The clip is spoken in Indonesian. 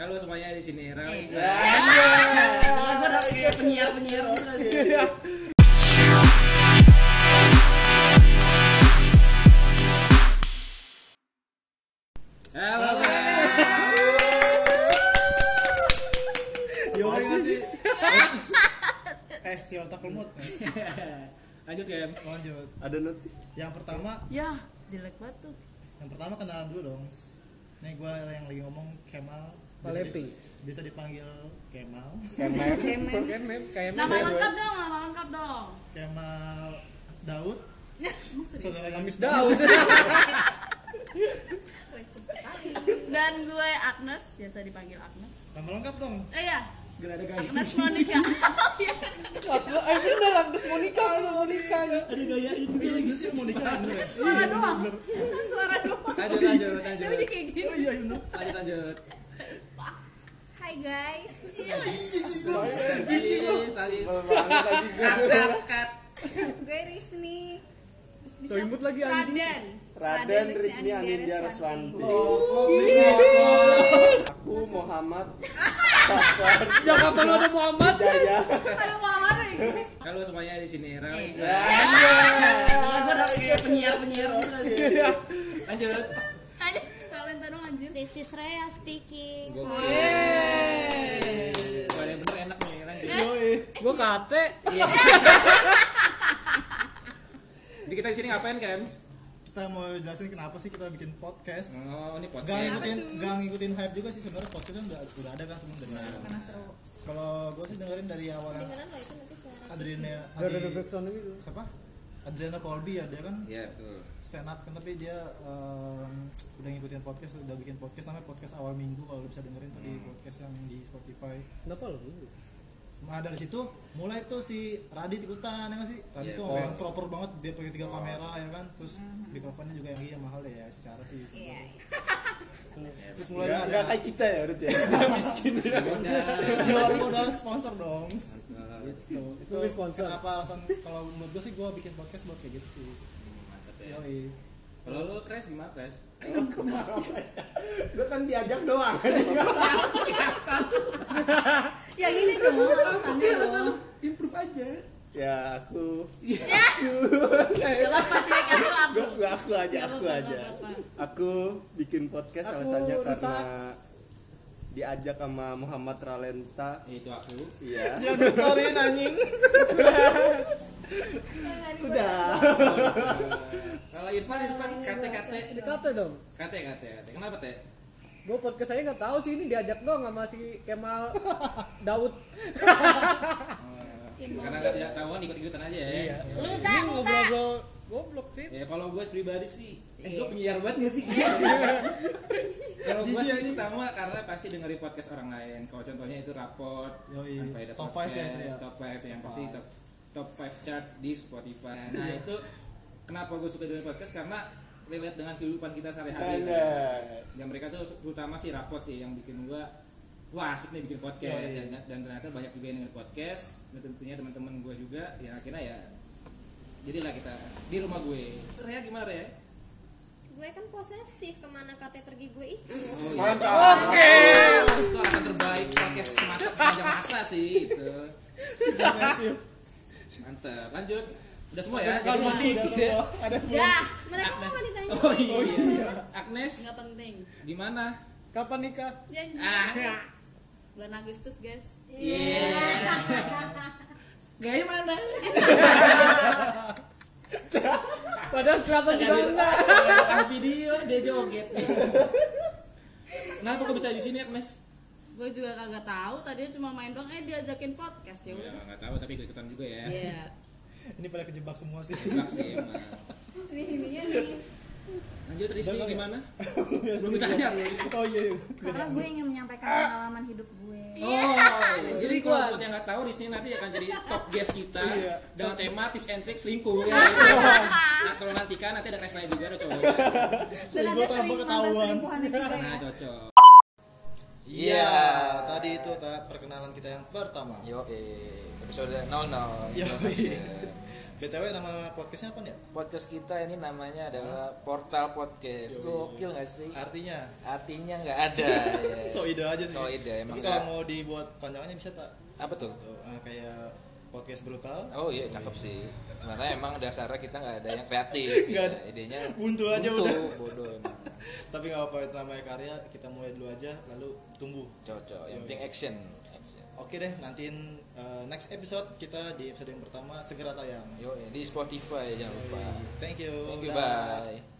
Halo semuanya di sini Rawit. Gue udah kayak penyiar-penyiar Halo. Yo sih. Eh, si otak lemot Lanjut ya. Eh, Lanjut Ada nanti. Yang pertama Ya, jelek banget tuh. Yang pertama kenalan dulu dong Nih gue yang lagi ngomong Kemal Bisa di- Palepi. Bisa dipanggil Kemal Kemen. Kemen, kayak Nama lengkap dong, nama lengkap dong. Kemal Daud Saudara Yamis Daud. Dan gue Agnes, biasa dipanggil Agnes. Nama lengkap dong Eh ya, Segera ada gaya. Agnes Monica. Kelas lo, eh bener lah, terus Monica, lu Monica. Ada gaya itu. Iya gitu sih mau nikah bener ya Suara doang. Suara doang. Lanjut lanjut lanjut. Tapi dia kayak gini. Oh iya bener Lanjut lanjut. Hai guys. Talis, talis. Cut, cut. gue Risni. Tuh, imut lagi, anjing. Raden. Raden Rizmi Anindya Raswanti. Oh, Iya. Aku Muhammad Jangan perlu ada Muhammad. Daya. Aduh mama tuh. Halo semuanya di sini Eh. Rawit. Gue udah kayak penyiar-penyiar Lanjut. Hanya talenta dong anjir. This is Rhea speaking. Kalau yang bener enak nih lanjut. Gue kate. Jadi kita di sini ngapain, Kems? Kita mau jelasin kenapa sih kita bikin podcast Oh, ini Gak podcast. ngikutin, gak ngikutin hype juga sih sebenarnya podcast kan udah, udah ada kan sebelum dari Nah. Kalau gue sih dengerin dari awal yang Adriana Ada ada Adi- backsound gitu. siapa? Adriana Colby ya dia kan Iya, betul. stand up kan tapi dia em, udah ngikutin podcast udah bikin podcast namanya podcast awal minggu kalau bisa dengerin tuh di podcast yang di Spotify. Kenapa lu? Nah dari situ mulai tuh si Radit ikutan ya nggak sih? Iya. Radit tuh orang yang proper banget dia pakai tiga kamera ya kan, terus mikrofonnya juga yang iya mahal ya secara sih. Terus mulai Gak ada kayak kita ya Rut ya. Miskin. Udah orang modal sponsor dong. Sponsor. Gitu. Itu Tapi sponsor. kenapa alasan kalau menurut gue sih gue bikin podcast buat kayak gitu sih. Mantap ya. Yoi. Kalau lu crash gimana, crash? Lu kan diajak doang. Ya gini dong. alasannya dong. Improve aja. Ya aku. Gak apa-apa cuek aku aku. Gak gak Gak aku aja aku apa-apa, aja. gak apa-apa. Aku bikin podcast Aku alasannya rusak. karena diajak sama Muhammad Ralenta. Itu aku. Iya. Jangan di story anjing. Udah. Kalau Irfan, Irfan kate-kate. Kate dong. Kate-kate. Kenapa, Teh? Gue podcast saya nggak tahu sih ini diajak dong sama si Kemal Daud. karena nggak tidak tahuan ikut-ikutan aja ya. Lu tak, Ini lu tak. ngobrol-ngobrol goblok sih. Ya kalau gue pribadi sih, eh gue penyiar banget gak sih? kalau gue Jijik sih anjing. pertama karena pasti dengerin podcast orang lain. Kalau contohnya itu raport, Yoi. Unfaedah Top five ya itu ya. top 5 yang pasti top top 5 chart di Spotify. Nah Iya. itu kenapa gue suka dengerin podcast karena relate dengan kehidupan kita sehari-hari. Dan Ya, mereka tuh terutama sih rapot sih yang bikin gua wah asik nih bikin podcast Yoi. dan, dan ternyata banyak juga yang denger podcast dan tentunya teman-teman gua juga ya akhirnya ya jadilah kita di rumah gue Rea gimana Rea? Gue kan posesif kemana kate pergi gue itu. Oh, iya. Mantap. itu alasan terbaik podcast semasa panjang masa sih gitu. itu Posesif. mantep lanjut udah semua ya Bukan jadi mandi. Udah semua ada Dah, Mereka kok nggak ditanya? oh iya Agnes nggak penting. gimana Kapan nikah? Janji. ah Bulan Agustus, guys. gaya mana Padahal kelihatan juga enggak. Ada video dia joget kenapa kok bisa di sini Agnes Gue juga kagak tahu, tadinya cuma main dong eh diajakin podcast ya Ya udah. nggak tahu tapi ikut ikutan juga ya. Iya. Ini pada kejebak semua sih. Enak sih emang. Ini ininya nih. Lanjut Risti Udah, gimana? Belum ditanya. Oh iya. iya. Karena gue ingin menyampaikan pengalaman hidup gue. Oh, jadi selingkuhan. kalau buat yang nggak tahu Risti nanti akan jadi top guest kita Iya. dengan tema tips and tricks selingkuh. Ya. nah, kalau nanti kan nanti ada kelas lain juga ada cowok. Dan Selingkuh tanpa ketahuan. selingkuhannya juga ya. Nah, cocok. Iya, tadi itu ta- perkenalan kita yang pertama. Yo, eh, episode 00 Yo, Introduction. Ke btw nama podcastnya apa ya podcast kita ini namanya adalah portal podcast Yoi. gokil nggak sih artinya artinya nggak ada ya. so ide iya. aja sih So ide, emang tapi kalau nggak- mau dibuat panjangannya bisa tak apa tuh Tuh, ah, kayak podcast brutal oh iya cakep sih sebenarnya emang dasarnya kita nggak ada yang kreatif Nggak ya. ada. idenya buntu aja buntu, udah bodoh emang. tapi nggak apa-apa itu namanya karya kita mulai dulu aja lalu tumbuh cocok Yoi. yang penting action action oke deh nantiin eh, next episode kita di episode yang pertama segera tayang yo di Spotify jangan lupa thank you thank you Dah. bye